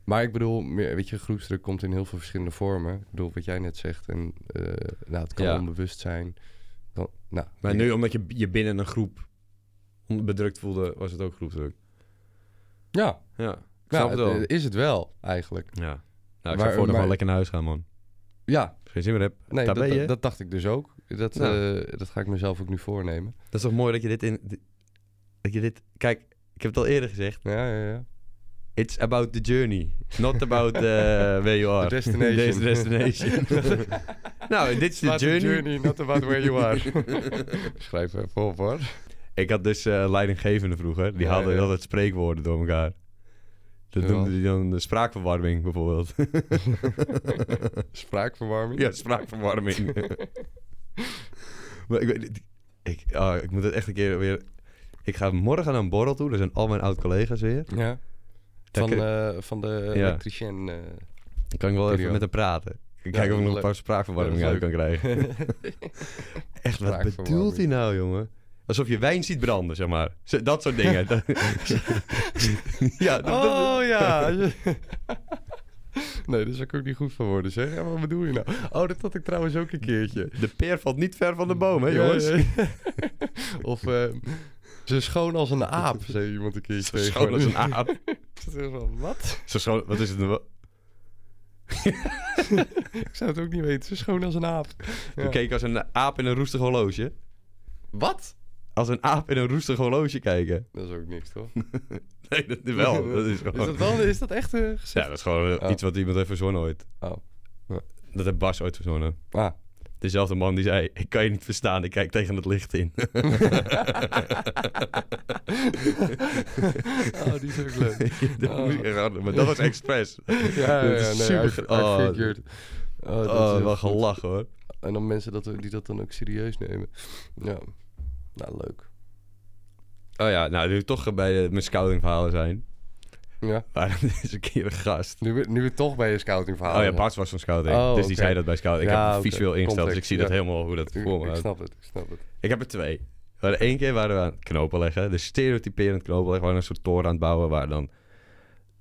[SPEAKER 2] Maar ik bedoel, meer- weet je, groepsdruk komt in heel veel verschillende vormen. Ik bedoel, wat jij net zegt. En eh, nou, het kan
[SPEAKER 1] Ja.
[SPEAKER 2] onbewust zijn. Kan, nou,
[SPEAKER 1] Maar
[SPEAKER 2] ik-
[SPEAKER 1] nu, omdat je je binnen een groep on- bedrukt voelde, was het ook groepsdruk.
[SPEAKER 2] Ja,
[SPEAKER 1] Ja, ik snap
[SPEAKER 2] nou,
[SPEAKER 1] het
[SPEAKER 2] het,
[SPEAKER 1] wel.
[SPEAKER 2] eh, is het wel eigenlijk.
[SPEAKER 1] ja. Nou, ik zou
[SPEAKER 2] Maar-
[SPEAKER 1] voor nog wel
[SPEAKER 2] maar-
[SPEAKER 1] lekker naar huis gaan, man.
[SPEAKER 2] Ja,
[SPEAKER 1] Als je geen zin meer hebt.
[SPEAKER 2] nee,
[SPEAKER 1] Daar
[SPEAKER 2] dat,
[SPEAKER 1] ben je. Nou.
[SPEAKER 2] dat, dat dacht ik dus ook. Dat,
[SPEAKER 1] Ja.
[SPEAKER 2] eh, dat ga ik mezelf ook nu voornemen.
[SPEAKER 1] Dat is toch mooi dat je dit in... di- Dat je dit... Kijk, ik heb het al eerder gezegd.
[SPEAKER 2] Ja, ja, ja.
[SPEAKER 1] It's about the journey. Not about eh, where you are.
[SPEAKER 2] The destination.
[SPEAKER 1] Deze destination. nou, dit is de
[SPEAKER 2] About the
[SPEAKER 1] journey.
[SPEAKER 2] not about where you are. Schrijf even op, hoor.
[SPEAKER 1] Ik had dus eh leidinggevenden vroeger. Die
[SPEAKER 2] Ja,
[SPEAKER 1] hadden
[SPEAKER 2] ja.
[SPEAKER 1] heel wat spreekwoorden door elkaar. Dat
[SPEAKER 2] Ja.
[SPEAKER 1] noemden die dan de spraakverwarming, bijvoorbeeld.
[SPEAKER 2] Spraakverwarming.
[SPEAKER 1] Ja, spraakverwarming. maar ik, weet niet- ik, ah, ik moet het echt een keer weer... Ik ga morgen naar een borrel toe. Er zijn al mijn oud-collega's weer.
[SPEAKER 2] Ja.
[SPEAKER 1] Daar
[SPEAKER 2] Van,
[SPEAKER 1] kun-
[SPEAKER 2] eh, van de elektricien. eh.
[SPEAKER 1] Dan kan ik wel even
[SPEAKER 2] video.
[SPEAKER 1] met hem praten. Ik
[SPEAKER 2] Ja,
[SPEAKER 1] kijk of ik nog een
[SPEAKER 2] leuk.
[SPEAKER 1] paar spraakverwarmingen
[SPEAKER 2] Ja,
[SPEAKER 1] uit
[SPEAKER 2] dat
[SPEAKER 1] kan
[SPEAKER 2] is
[SPEAKER 1] krijgen.
[SPEAKER 2] Oh,
[SPEAKER 1] Echt, wat
[SPEAKER 2] Spraakverwarming.
[SPEAKER 1] bedoelt hij nou, jongen? Alsof je wijn ziet branden, zeg maar. Z- Dat soort dingen. Dat- ja, dat- dat-
[SPEAKER 2] oh ja. nee, daar zou ik ook niet goed van worden, zeg. Ja, maar wat bedoel je nou? Oh, dat had ik trouwens ook een keertje.
[SPEAKER 1] de peer valt niet ver van de boom, hè,
[SPEAKER 2] Ja,
[SPEAKER 1] jongens?
[SPEAKER 2] ja. of eh, ze schoon als een aap, zei iemand een keertje
[SPEAKER 1] Zo
[SPEAKER 2] tegen
[SPEAKER 1] schoon
[SPEAKER 2] me.
[SPEAKER 1] als een aap.
[SPEAKER 2] Dat is wel, Wat?
[SPEAKER 1] Zo schoon... Wat is het nou?
[SPEAKER 2] Ik zou het ook niet weten. Ze schoon als een aap. Ja.
[SPEAKER 1] We keken als een aap in een roestig horloge.
[SPEAKER 2] Wat?
[SPEAKER 1] Als een aap in een roestig horloge kijken.
[SPEAKER 2] Dat is ook niks, toch?
[SPEAKER 1] Nee, dat wel. Dat is gewoon...
[SPEAKER 2] Is dat, wel, is dat echt eh, gezegd?
[SPEAKER 1] Ja, dat is gewoon eh,
[SPEAKER 2] Oh.
[SPEAKER 1] iets wat iemand heeft verzonnen ooit.
[SPEAKER 2] Oh. Ja.
[SPEAKER 1] Dat heeft Bas ooit verzonnen.
[SPEAKER 2] Ah.
[SPEAKER 1] Dezelfde man die zei, ik kan je niet verstaan, ik kijk tegen het licht in.
[SPEAKER 2] Ah. oh, die is ook leuk.
[SPEAKER 1] dat
[SPEAKER 2] Oh.
[SPEAKER 1] moest ik echt hard- maar dat was expres.
[SPEAKER 2] Ja,
[SPEAKER 1] Dat
[SPEAKER 2] ja,
[SPEAKER 1] is
[SPEAKER 2] ja, nee,
[SPEAKER 1] super
[SPEAKER 2] I-
[SPEAKER 1] ge-
[SPEAKER 2] I
[SPEAKER 1] oh, dat-
[SPEAKER 2] figured. Oh, dat is
[SPEAKER 1] Oh,
[SPEAKER 2] heel
[SPEAKER 1] wel
[SPEAKER 2] goed.
[SPEAKER 1] gelachen hoor.
[SPEAKER 2] En dan mensen dat, die dat dan ook serieus nemen. Ja, nou leuk.
[SPEAKER 1] Oh ja, nou, nu we toch bij de, mijn scouting verhalen zijn.
[SPEAKER 2] Ja,
[SPEAKER 1] Waarom is een keer een gast?
[SPEAKER 2] nu, we- nu we toch bij je scouting verhaal.
[SPEAKER 1] Oh ja, Bas was van scouting.
[SPEAKER 2] Oh,
[SPEAKER 1] dus die
[SPEAKER 2] oké.
[SPEAKER 1] zei dat bij scouting. Ik
[SPEAKER 2] Ja,
[SPEAKER 1] heb het
[SPEAKER 2] oké.
[SPEAKER 1] visueel ingesteld, dus ik
[SPEAKER 2] Context,
[SPEAKER 1] zie dat
[SPEAKER 2] ja.
[SPEAKER 1] helemaal hoe dat
[SPEAKER 2] Ik,
[SPEAKER 1] voor me
[SPEAKER 2] ik
[SPEAKER 1] houdt.
[SPEAKER 2] snap het, ik snap het.
[SPEAKER 1] Ik heb er twee. We hadden één keer waren we aan het knopen leggen. Dus stereotyperend knopen leggen. We waren een soort toren aan het bouwen waar dan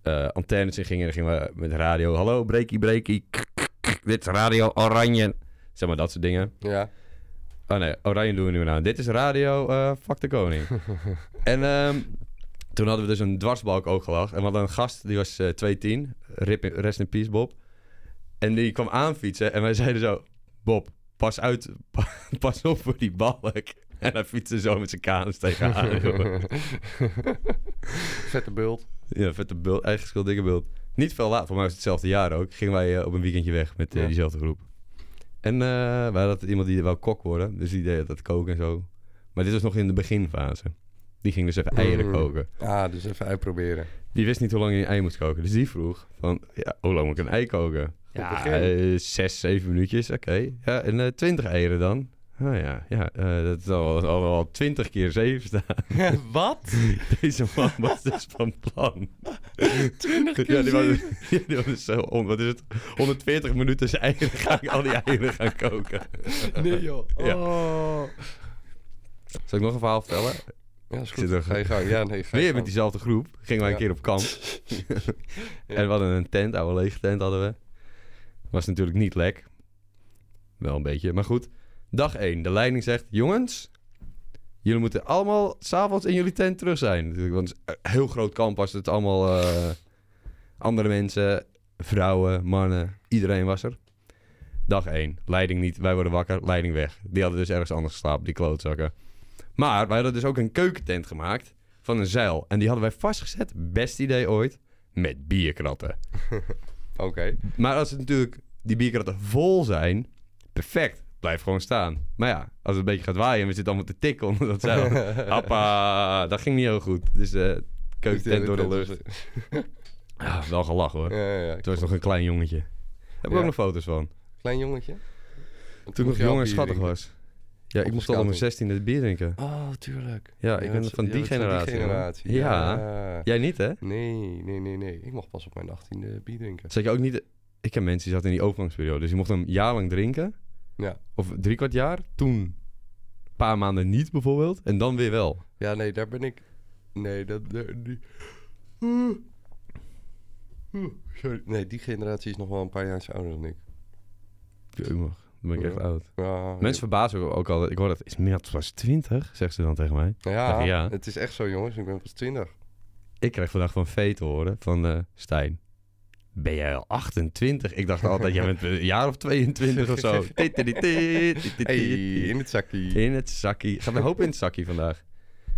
[SPEAKER 1] eh, antennes in gingen. En dan gingen we met radio. Hallo, breakie, breakie. Kik, kik, kik. Dit is radio oranje. Zeg maar dat soort dingen.
[SPEAKER 2] Ja,
[SPEAKER 1] Oh nee, oranje doen we nu maar aan. Dit is radio eh Fuck de Koning. en ehm, toen hadden we dus een dwarsbalk ook gelacht. En we hadden een gast, die was eh 210. Rip in- rest in peace, Bob. En die kwam aanfietsen. En wij zeiden zo... Bob, pas uit. pa- pas op voor die balk. En hij fietste zo met zijn kanus tegenaan. jongen.
[SPEAKER 2] vette bult.
[SPEAKER 1] ja, vette bult. Eigen schuld, dikke bult. Niet veel later, voor mij was het hetzelfde jaar ook. Gingen wij eh, op een weekendje weg met eh,
[SPEAKER 2] Ja.
[SPEAKER 1] diezelfde groep. En eh wij hadden iemand die wou kok worden. Dus die deed dat koken en zo. Maar dit was nog in de beginfase. Die ging dus even eieren
[SPEAKER 2] Mm.
[SPEAKER 1] koken.
[SPEAKER 2] Ah, dus even uitproberen.
[SPEAKER 1] Die wist niet hoe lang je een ei moest koken. Dus die vroeg van, ja, hoe lang moet ik een ei koken? Ja,
[SPEAKER 2] begin.
[SPEAKER 1] eh, zes, zeven minuutjes, oké. Ja, en eh, twintig eieren dan? Oh ja, ja eh, dat is al, al, al twintig keer zeven staan.
[SPEAKER 2] Wat?
[SPEAKER 1] Deze man was dus van plan.
[SPEAKER 2] 20
[SPEAKER 1] Ja, die was, ja, die was dus zo, on- wat is het, 140 minuten zijn eieren gaan, al die eieren gaan koken.
[SPEAKER 2] Nee joh.
[SPEAKER 1] Ja.
[SPEAKER 2] Oh.
[SPEAKER 1] Zal ik nog een verhaal vertellen?
[SPEAKER 2] Ja, is
[SPEAKER 1] Zit er-
[SPEAKER 2] goed. Ga je gang. Ja, nee, ga je
[SPEAKER 1] Weer met
[SPEAKER 2] gang.
[SPEAKER 1] diezelfde groep gingen wij een
[SPEAKER 2] Ja.
[SPEAKER 1] keer op kamp. En we hadden een tent, oude lege tent hadden we. Was natuurlijk niet lek. Wel een beetje, maar goed. Dag 1, de leiding zegt... Jongens, jullie moeten allemaal s'avonds in jullie tent terug zijn. Natuurlijk, Want het is een heel groot kamp was het allemaal... eh, andere mensen, vrouwen, mannen, iedereen was er. Dag 1, leiding niet, wij worden wakker, leiding weg. Die hadden dus ergens anders geslapen, die klootzakken. Maar wij hadden dus ook een keukentent gemaakt van een zeil. En die hadden wij vastgezet, best idee ooit met bierkratten.
[SPEAKER 2] Oké.
[SPEAKER 1] Maar als het natuurlijk die bierkratten vol zijn, perfect. Blijf gewoon staan. Maar ja, als het een beetje gaat waaien en we zitten allemaal te tikken onder dat zeil. Appa, dat ging niet heel goed. Dus eh keuken tent dus- door de lucht. Ah, wel gelachen hoor.
[SPEAKER 2] Ja, ja, ja.
[SPEAKER 1] Toen was nog een klein jongetje. Heb ik
[SPEAKER 2] Ja.
[SPEAKER 1] ook nog foto's van.
[SPEAKER 2] Klein jongetje.
[SPEAKER 1] Toen ik nog jong en schattig was. Ja, ik
[SPEAKER 2] Op
[SPEAKER 1] moest
[SPEAKER 2] de
[SPEAKER 1] al om mijn
[SPEAKER 2] skatel.
[SPEAKER 1] 16e bier drinken.
[SPEAKER 2] Oh, tuurlijk.
[SPEAKER 1] Ja,
[SPEAKER 2] Jij
[SPEAKER 1] ik ben
[SPEAKER 2] bent-
[SPEAKER 1] van
[SPEAKER 2] jij
[SPEAKER 1] die
[SPEAKER 2] bent
[SPEAKER 1] generatie. hoor.
[SPEAKER 2] generatie.
[SPEAKER 1] Ja.
[SPEAKER 2] ja.
[SPEAKER 1] Jij niet, hè?
[SPEAKER 2] Nee, nee, nee, nee. Ik mocht pas op mijn 18e bier drinken.
[SPEAKER 1] Zat je ook niet... Ik ken mensen die zaten in die overgangsperiode. Dus die mochten een jaar lang drinken.
[SPEAKER 2] Ja.
[SPEAKER 1] Of drie kwart jaar. Toen een paar maanden niet, bijvoorbeeld. En dan weer wel.
[SPEAKER 2] Ja, nee, daar ben ik. Nee, dat. daar- die... Sorry. Nee, die generatie is nog wel een paar jaar ouder dan ik.
[SPEAKER 1] Jeumig, Dan ben ik echt
[SPEAKER 2] Ja.
[SPEAKER 1] oud.
[SPEAKER 2] Ja,
[SPEAKER 1] Mensen verbazen ook ook altijd. Ik hoor dat, is Mirat pas 20? Zegt ze dan tegen mij.
[SPEAKER 2] Ja,
[SPEAKER 1] zeggen ja.
[SPEAKER 2] het is echt zo, jongens. Ik ben pas 20.
[SPEAKER 1] Ik krijg vandaag van Vee te horen van eh, Stijn. Ben jij al 28? Ik dacht altijd, jij bent een jaar of 22 of zo. Tit, tit, tit, tit, tit, tit.
[SPEAKER 2] Hey, in het zakkie.
[SPEAKER 1] In het zakkie. Gaat een hoop in het zakkie vandaag.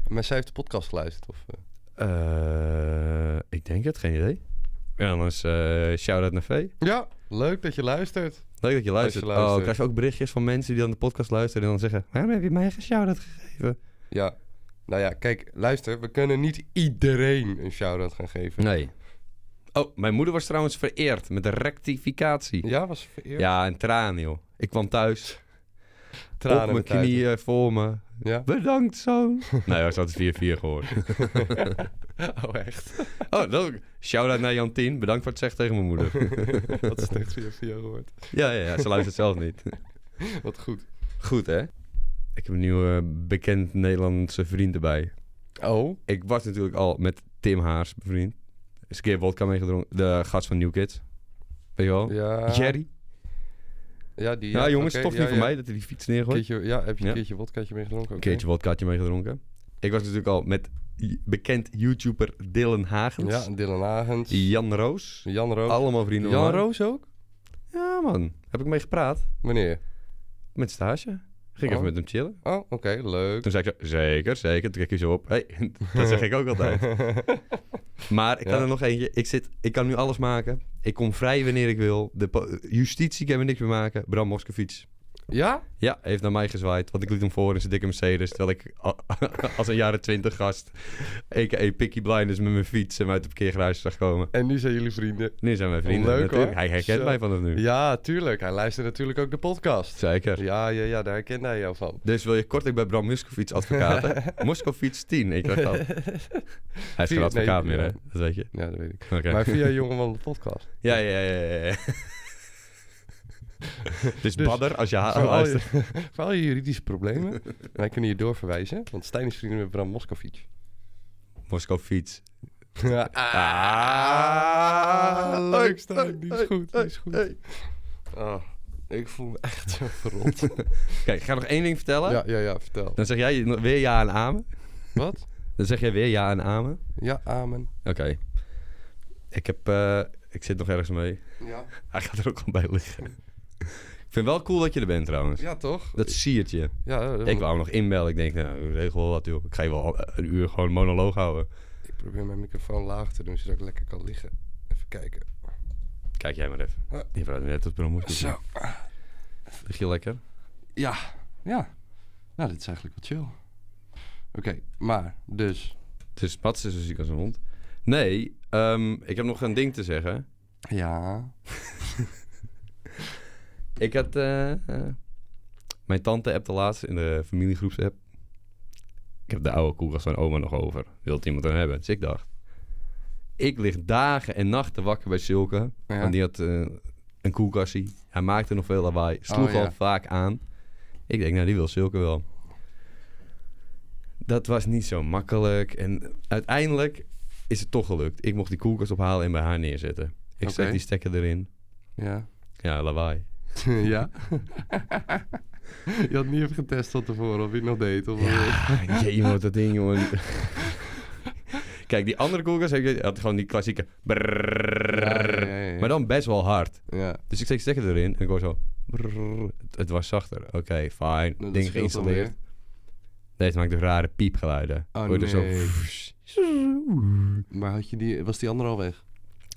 [SPEAKER 2] Maar zij heeft de podcast geluisterd, of? eh?
[SPEAKER 1] Eh, ik denk het, geen idee. Ja, anders eh shout-out naar Vee.
[SPEAKER 2] Ja, leuk dat je luistert.
[SPEAKER 1] Leuk dat je luistert.
[SPEAKER 2] luistert.
[SPEAKER 1] Oh, krijg je ook berichtjes van mensen die dan de podcast luisteren en dan zeggen... Waarom heb je mij geen shout-out gegeven?
[SPEAKER 2] Ja. Nou ja, kijk, luister. We kunnen niet iedereen een shout-out gaan geven.
[SPEAKER 1] Nee. Oh, mijn moeder was trouwens vereerd met de rectificatie.
[SPEAKER 2] Ja, was vereerd.
[SPEAKER 1] Ja, en tranen, joh. Ik kwam thuis,
[SPEAKER 2] Tranen
[SPEAKER 1] op mijn
[SPEAKER 2] met uit.
[SPEAKER 1] knieën, voor me.
[SPEAKER 2] Ja.
[SPEAKER 1] Bedankt, zoon. nou ja, ze had 4-4 gehoord.
[SPEAKER 2] Oh, echt?
[SPEAKER 1] Oh, dat ook. Shout-out naar Jantien. Bedankt voor het zeggen tegen mijn moeder.
[SPEAKER 2] Wat slecht via via gehoord.
[SPEAKER 1] ja, ja, ja, ze luistert zelf niet.
[SPEAKER 2] Wat goed.
[SPEAKER 1] Goed, hè? Ik heb een nieuwe bekend Nederlandse vriend erbij.
[SPEAKER 2] Oh.
[SPEAKER 1] Ik was natuurlijk al met Tim Haars bevriend. Is een keer vodka meegedronken. De gast van New Kids. Weet je wel?
[SPEAKER 2] Ja.
[SPEAKER 1] Jerry.
[SPEAKER 2] Ja, die.
[SPEAKER 1] nou, jongens,
[SPEAKER 2] oké,
[SPEAKER 1] toch
[SPEAKER 2] ja,
[SPEAKER 1] niet voor
[SPEAKER 2] ja.
[SPEAKER 1] mij dat hij die fiets neergooit.
[SPEAKER 2] Keertje, ja, heb je een
[SPEAKER 1] Ja.
[SPEAKER 2] keertje wodkaatje meegedronken?
[SPEAKER 1] Een
[SPEAKER 2] Oké.
[SPEAKER 1] keertje vodkaatje meegedronken. Ik was natuurlijk al met i- bekend YouTuber Dylan Hagens.
[SPEAKER 2] Ja, Dylan Hagens.
[SPEAKER 1] Jan Roos.
[SPEAKER 2] Jan Roos.
[SPEAKER 1] Allemaal vrienden
[SPEAKER 2] Jan
[SPEAKER 1] van mij.
[SPEAKER 2] Roos ook?
[SPEAKER 1] Ja, man. Heb ik mee gepraat.
[SPEAKER 2] Wanneer?
[SPEAKER 1] Met stage. Ging ik
[SPEAKER 2] Oh.
[SPEAKER 1] even met hem chillen.
[SPEAKER 2] Oh, oké, leuk.
[SPEAKER 1] Toen zei ik zo, zeker, zeker. Toen keek hij zo op. Hey, dat zeg ik ook altijd. Maar ik kan
[SPEAKER 2] Ja.
[SPEAKER 1] er nog eentje. Ik, zit, ik kan nu alles maken. Ik kom vrij wanneer ik wil. De po- justitie kan me niks meer maken. Bram Moskovic.
[SPEAKER 2] ja?
[SPEAKER 1] Ja, heeft naar mij gezwaaid. Want ik liet hem voor in zijn dikke Mercedes. Terwijl ik a- als een jaren twintig gast... a.k.a. Picky Blinders met mijn fiets... hem uit de parkeergarage zag komen.
[SPEAKER 2] En nu zijn jullie vrienden.
[SPEAKER 1] Nu zijn wij vrienden.
[SPEAKER 2] Leuk,
[SPEAKER 1] natuurlijk.
[SPEAKER 2] hoor.
[SPEAKER 1] Hij herkent
[SPEAKER 2] Zo.
[SPEAKER 1] mij vanaf nu.
[SPEAKER 2] Ja, tuurlijk. Hij luistert natuurlijk ook de podcast.
[SPEAKER 1] Zeker.
[SPEAKER 2] Ja, ja, ja, daar herkende hij jou van.
[SPEAKER 1] Dus wil je korting bij Bram Moskovic advocaten? Moskovic 10, ik dacht al. Hij is geen
[SPEAKER 2] Nee,
[SPEAKER 1] advocaat meer, hè?
[SPEAKER 2] ja.
[SPEAKER 1] Dat weet je.
[SPEAKER 2] Ja, dat weet ik.
[SPEAKER 1] Oké.
[SPEAKER 2] Maar via Jongeman de podcast.
[SPEAKER 1] Ja, ja, ja, ja. ja. dus,
[SPEAKER 2] Dus-
[SPEAKER 1] Badder, als je haar
[SPEAKER 2] voor, al je,
[SPEAKER 1] luistert.
[SPEAKER 2] voor al je juridische problemen. Wij kunnen je doorverwijzen. Want Stijn is vrienden met Bram Moskovic.
[SPEAKER 1] Moskovic.
[SPEAKER 2] Ja.
[SPEAKER 1] Ah,
[SPEAKER 2] leuk Stijn. Die is
[SPEAKER 1] hey,
[SPEAKER 2] goed. Die is goed.
[SPEAKER 1] hey.
[SPEAKER 2] Ah, ik voel me echt zo verrot.
[SPEAKER 1] Kijk, ik ga nog één ding vertellen.
[SPEAKER 2] ja, ja, ja, vertel.
[SPEAKER 1] Dan zeg jij nog weer ja en amen.
[SPEAKER 2] Wat?
[SPEAKER 1] Dan zeg jij weer ja en amen.
[SPEAKER 2] Ja, amen.
[SPEAKER 1] Oké. Ik heb... eh, ik zit nog ergens mee.
[SPEAKER 2] Ja,
[SPEAKER 1] Hij gaat er ook al bij liggen. ik vind het wel cool dat je er bent, trouwens.
[SPEAKER 2] ja toch?
[SPEAKER 1] Dat siert je.
[SPEAKER 2] Ja, eh,
[SPEAKER 1] Ik wou hem nog inbellen. Ik denk, nou, ik regel wel wat, joh. Ik ga je wel een uur gewoon monoloog houden.
[SPEAKER 2] ik probeer mijn microfoon laag te doen, zodat ik lekker kan liggen. Even kijken.
[SPEAKER 1] Kijk jij maar even.
[SPEAKER 2] Ja.
[SPEAKER 1] Je praat net tot promotie.
[SPEAKER 2] Zo.
[SPEAKER 1] Lig je lekker?
[SPEAKER 2] Ja, ja. Nou, dit is eigenlijk wel chill. Oké, maar dus.
[SPEAKER 1] Het is Mats is zo ziek als een hond. Nee, ehm, ik heb nog een ding te zeggen.
[SPEAKER 2] Ja.
[SPEAKER 1] Ik had... eh, eh, mijn tante appte laatst in de familiegroepsapp. Ik heb de oude koelkast van oma nog over. Wilt iemand hem hebben? Dus ik dacht... Ik lig dagen en nachten wakker bij Silke.
[SPEAKER 2] Ja.
[SPEAKER 1] Want die had eh, een koelkastie. Hij maakte nog veel lawaai. Sloeg
[SPEAKER 2] Oh, ja.
[SPEAKER 1] al vaak aan. Ik denk, nou, die wil Silke wel. Dat was niet zo makkelijk. En uiteindelijk is het toch gelukt. Ik mocht die koelkast ophalen en bij haar neerzetten. Ik zet
[SPEAKER 2] Oké.
[SPEAKER 1] die stekker erin.
[SPEAKER 2] Ja.
[SPEAKER 1] Ja, lawaai.
[SPEAKER 2] ja. Je had niet even getest van tevoren of je het nog deed. Of
[SPEAKER 1] Ja, jee, wat dat ding, jongen. Kijk, die andere koelkast heb je- had gewoon die klassieke... brrrr.
[SPEAKER 2] Ja, ja, ja, ja.
[SPEAKER 1] Maar dan best wel hard.
[SPEAKER 2] ja. Nou,
[SPEAKER 1] Dus ik steek stekker erin en ik hoor zo... brrrr. Het, het was zachter. Oké, fijn.
[SPEAKER 2] Nou, dat
[SPEAKER 1] Ding
[SPEAKER 2] scheelt dan
[SPEAKER 1] geïnstalleerd.
[SPEAKER 2] weer.
[SPEAKER 1] Nee, het maakt toch rare piepgeluiden.
[SPEAKER 2] Oh,
[SPEAKER 1] Hoor je er zo-
[SPEAKER 2] nee. Maar had je die, was die andere al weg?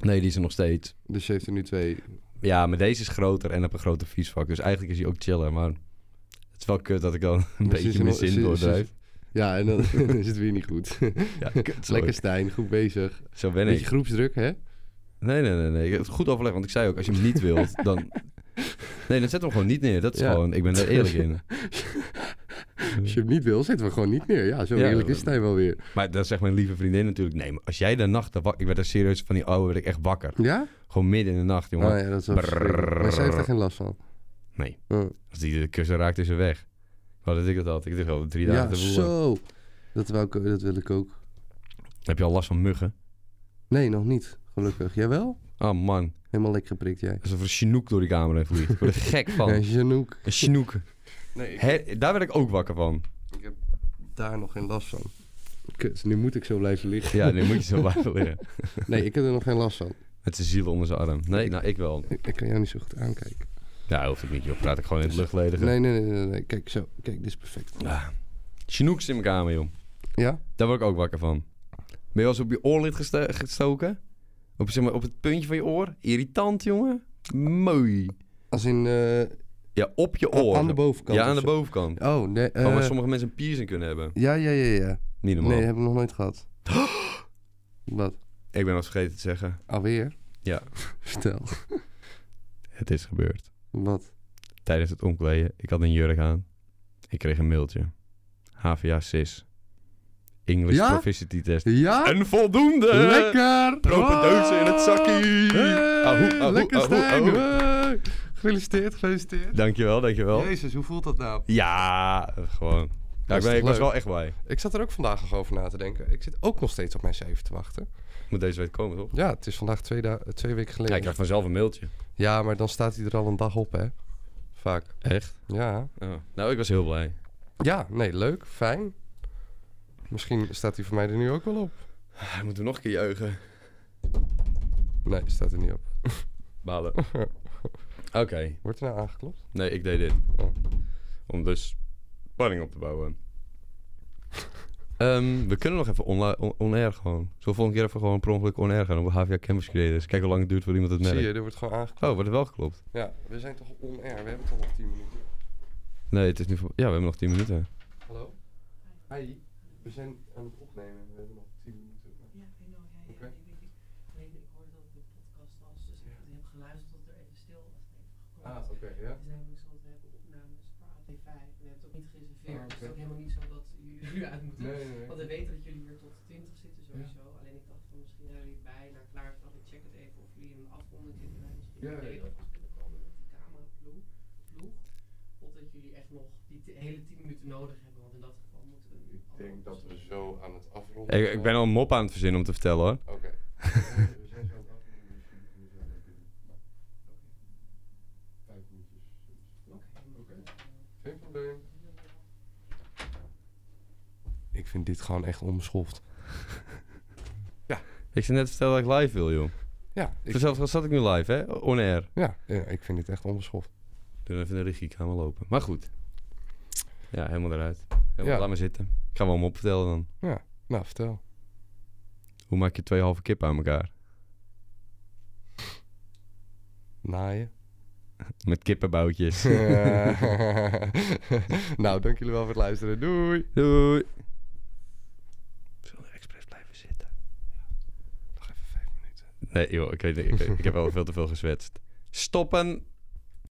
[SPEAKER 1] Nee, die is er nog steeds.
[SPEAKER 2] Dus je heeft er nu twee.
[SPEAKER 1] Ja, maar deze is groter en heb een groter viesvak. Dus eigenlijk is hij ook chiller. Maar het is wel kut dat ik dan een
[SPEAKER 2] Dus is
[SPEAKER 1] beetje
[SPEAKER 2] er
[SPEAKER 1] mijn
[SPEAKER 2] nog- is-
[SPEAKER 1] zin
[SPEAKER 2] is-
[SPEAKER 1] doordrijf.
[SPEAKER 2] Ja, en dan is het weer niet goed.
[SPEAKER 1] Ja, kut, sorry.
[SPEAKER 2] Lekker Stijn, goed bezig.
[SPEAKER 1] Zo ben
[SPEAKER 2] Beetje
[SPEAKER 1] ik.
[SPEAKER 2] groepsdruk, hè?
[SPEAKER 1] Nee, nee, nee, nee. Ik heb het goed overleg. Want ik zei ook, als je hem niet wilt, dan... Nee, dan zet hem gewoon niet neer. Dat is
[SPEAKER 2] Ja.
[SPEAKER 1] gewoon... Ik ben daar eerlijk in.
[SPEAKER 2] Als je hem niet wil, zetten we gewoon niet neer. Ja, zo
[SPEAKER 1] Ja,
[SPEAKER 2] eerlijk is Stijn wel weer.
[SPEAKER 1] Maar dan zegt mijn lieve vriendin natuurlijk... Nee, maar als jij de nacht... wakker- Ik werd er serieus van die oude werd ik echt wakker.
[SPEAKER 2] Ja?
[SPEAKER 1] Gewoon midden in de nacht, jongen.
[SPEAKER 2] Oh ja, dat is wel verschrikkelijk. Maar zij heeft er geen last van.
[SPEAKER 1] Nee.
[SPEAKER 2] Oh.
[SPEAKER 1] Als die de kussen raakt, is ze weg. Wat dat ik dat had. Ik dacht al drie dagen
[SPEAKER 2] Ja,
[SPEAKER 1] te voelen.
[SPEAKER 2] zo. Dat, wou ik, dat wil ik ook.
[SPEAKER 1] Heb je al last van muggen?
[SPEAKER 2] Nee, nog niet. Gelukkig. Jij wel?
[SPEAKER 1] Oh man,
[SPEAKER 2] Helemaal lekker geprikt, jij.
[SPEAKER 1] alsof er een chinook door die kamer heen vliegt. Ik word er gek van.
[SPEAKER 2] Nee, Janouk.
[SPEAKER 1] Een chinook.
[SPEAKER 2] Nee, ik,
[SPEAKER 1] Hè, daar werd ik ook wakker van.
[SPEAKER 2] ik heb daar nog geen last van. Kut, nu moet ik zo blijven liggen.
[SPEAKER 1] Ja, nu moet je zo blijven liggen.
[SPEAKER 2] Nee, ik heb er nog geen last van.
[SPEAKER 1] Met zijn ziel onder zijn arm. Nee, nou ik wel.
[SPEAKER 2] Ik, ik kan jou niet zo goed aankijken.
[SPEAKER 1] Ja, hoeft ik niet joh. Praat ik gewoon in het luchtledige.
[SPEAKER 2] Nee, nee, nee, nee, nee. Kijk, zo. Kijk, dit is perfect.
[SPEAKER 1] Ah. Chinooks in mijn kamer joh.
[SPEAKER 2] Ja?
[SPEAKER 1] Daar word ik ook wakker van. Ben je wel eens op je oorlid geste- gestoken? Op, zeg maar, op het puntje van je oor? Irritant jongen. Mooi.
[SPEAKER 2] Als in... eh,
[SPEAKER 1] Ja, op je oor.
[SPEAKER 2] aan de bovenkant
[SPEAKER 1] Ja, Oh, aan
[SPEAKER 2] of
[SPEAKER 1] de
[SPEAKER 2] zo.
[SPEAKER 1] bovenkant.
[SPEAKER 2] Oh, nee. eh,
[SPEAKER 1] oh, maar sommige mensen een piercing kunnen hebben.
[SPEAKER 2] Ja, ja, ja, ja.
[SPEAKER 1] Niet normaal.
[SPEAKER 2] Nee, heb ik nog nooit gehad. Wat?
[SPEAKER 1] Ik ben wat vergeten te zeggen.
[SPEAKER 2] Alweer?
[SPEAKER 1] Ja.
[SPEAKER 2] Vertel.
[SPEAKER 1] Het is gebeurd.
[SPEAKER 2] Wat?
[SPEAKER 1] Tijdens het omkleden, ik had een jurk aan. Ik kreeg een mailtje. HVA CIS. English
[SPEAKER 2] Ja?
[SPEAKER 1] Proficiency Test.
[SPEAKER 2] Ja?
[SPEAKER 1] En voldoende!
[SPEAKER 2] Lekker!
[SPEAKER 1] Propedeuse in het zakkie!
[SPEAKER 2] Hey,
[SPEAKER 1] Ahoe, ahoe,
[SPEAKER 2] lekker
[SPEAKER 1] ahoe,
[SPEAKER 2] Stijn!
[SPEAKER 1] ahoe.
[SPEAKER 2] Hey. Gefeliciteerd, gefeliciteerd.
[SPEAKER 1] Dankjewel, dankjewel.
[SPEAKER 2] Jezus, hoe voelt dat nou?
[SPEAKER 1] Ja, gewoon. Ja, ik, ben, ik was
[SPEAKER 2] leuk.
[SPEAKER 1] wel echt blij.
[SPEAKER 2] Ik zat er ook vandaag nog over na te denken. Ik zit ook nog steeds op mijn 7 te wachten.
[SPEAKER 1] Moet deze week komen, toch?
[SPEAKER 2] Ja, het is vandaag twee, da- twee weken
[SPEAKER 1] Ja,
[SPEAKER 2] geleden.
[SPEAKER 1] ik krijg vanzelf een mailtje.
[SPEAKER 2] Ja, maar dan staat hij er al een dag op, hè? Vaak.
[SPEAKER 1] Echt?
[SPEAKER 2] Ja.
[SPEAKER 1] Nou, ik was heel blij.
[SPEAKER 2] Ja, nee, leuk, fijn. Misschien staat hij voor mij er nu ook wel op.
[SPEAKER 1] Ah, Moeten we nog een keer juichen?
[SPEAKER 2] Nee, staat er niet op.
[SPEAKER 1] Balen. Oké.
[SPEAKER 2] Wordt er nou aangeklopt?
[SPEAKER 1] Nee, ik deed dit.
[SPEAKER 2] Oh.
[SPEAKER 1] Om dus spanning op te bouwen. Ehm, we kunnen nog even onla- on- on-air gewoon. Zo volgende keer even gewoon per ongeluk on-air gaan. Op HVA Campus Creators. Kijk hoe lang het duurt voor iemand het
[SPEAKER 2] Zie
[SPEAKER 1] merkt.
[SPEAKER 2] je, er wordt gewoon aangeklopt.
[SPEAKER 1] Oh, wordt het wel geklopt?
[SPEAKER 2] Ja, we zijn toch on-air? We hebben toch nog 10 minuten?
[SPEAKER 1] Nee, het is nu... voor- Ja, we hebben nog 10 minuten.
[SPEAKER 2] Hallo? Hi, we zijn aan het opnemen. We hebben nog 10 minuten.
[SPEAKER 3] Ja, ik weet nog, ja, ja,
[SPEAKER 2] Oké.
[SPEAKER 3] ik weet niet. Alleen, ik hoorde dat de podcast was, dus ik heb hem geluisterd tot er even stil was. en even gekomen.
[SPEAKER 2] Ah, oké, ja.
[SPEAKER 3] Dus hebben we zo, we hebben opnames voor AT5 en we hebben het ook niet gereserveerd.
[SPEAKER 2] Ah,
[SPEAKER 3] Dus het
[SPEAKER 2] oké.
[SPEAKER 3] is ook helemaal niet zo dat jullie er nu uit moeten.
[SPEAKER 2] Nee, nee,
[SPEAKER 3] Want we weten dat jullie hier tot 20 zitten sowieso. Alleen ik dacht van misschien zijn jullie bijna klaar. Dus dacht ik check het even of jullie een afronding zitten. Wij misschien
[SPEAKER 2] Ja,
[SPEAKER 3] een
[SPEAKER 2] ja, ja.
[SPEAKER 3] play-offs kunnen komen met die cameraploeg. ploeg. Of dat jullie echt nog die t- hele 10 minuten nodig hebben. Want in dat geval moeten we nu.
[SPEAKER 2] Ik denk dat we
[SPEAKER 3] zo.
[SPEAKER 2] zo aan het afronden
[SPEAKER 1] Ik, ik ben al een mop aan het verzinnen om te vertellen hoor.
[SPEAKER 2] Oké. we zijn zo aan het afronden. dus jullie kunnen zo lekker doen. Maar- Vijf minuutjes. Oké. Geen probleem. Ik vind dit gewoon echt onbeschoft.
[SPEAKER 1] Ik zei net te vertellen dat ik live wil joh.
[SPEAKER 2] Ja, ik,
[SPEAKER 1] Vanzelfs zat ik nu live hè, on-air.
[SPEAKER 2] ja, ja, ik vind dit echt onbeschoft.
[SPEAKER 1] Doe dan even de regiekamer lopen. Maar goed. Ja, helemaal eruit. Helemaal,
[SPEAKER 2] Ja.
[SPEAKER 1] Laat maar zitten. Ik ga wel een mop vertellen dan.
[SPEAKER 2] Nou, vertel.
[SPEAKER 1] Hoe maak je twee halve kippen aan elkaar?
[SPEAKER 2] Naaien.
[SPEAKER 1] Met kippenboutjes.
[SPEAKER 2] Eh, nou, dank jullie wel voor het luisteren. Doei.
[SPEAKER 1] Doei. Zullen we expres blijven zitten?
[SPEAKER 2] Nog even vijf minuten.
[SPEAKER 1] Nee joh, ik, weet niet, ik, ik heb al veel te veel gezwetst. Stoppen!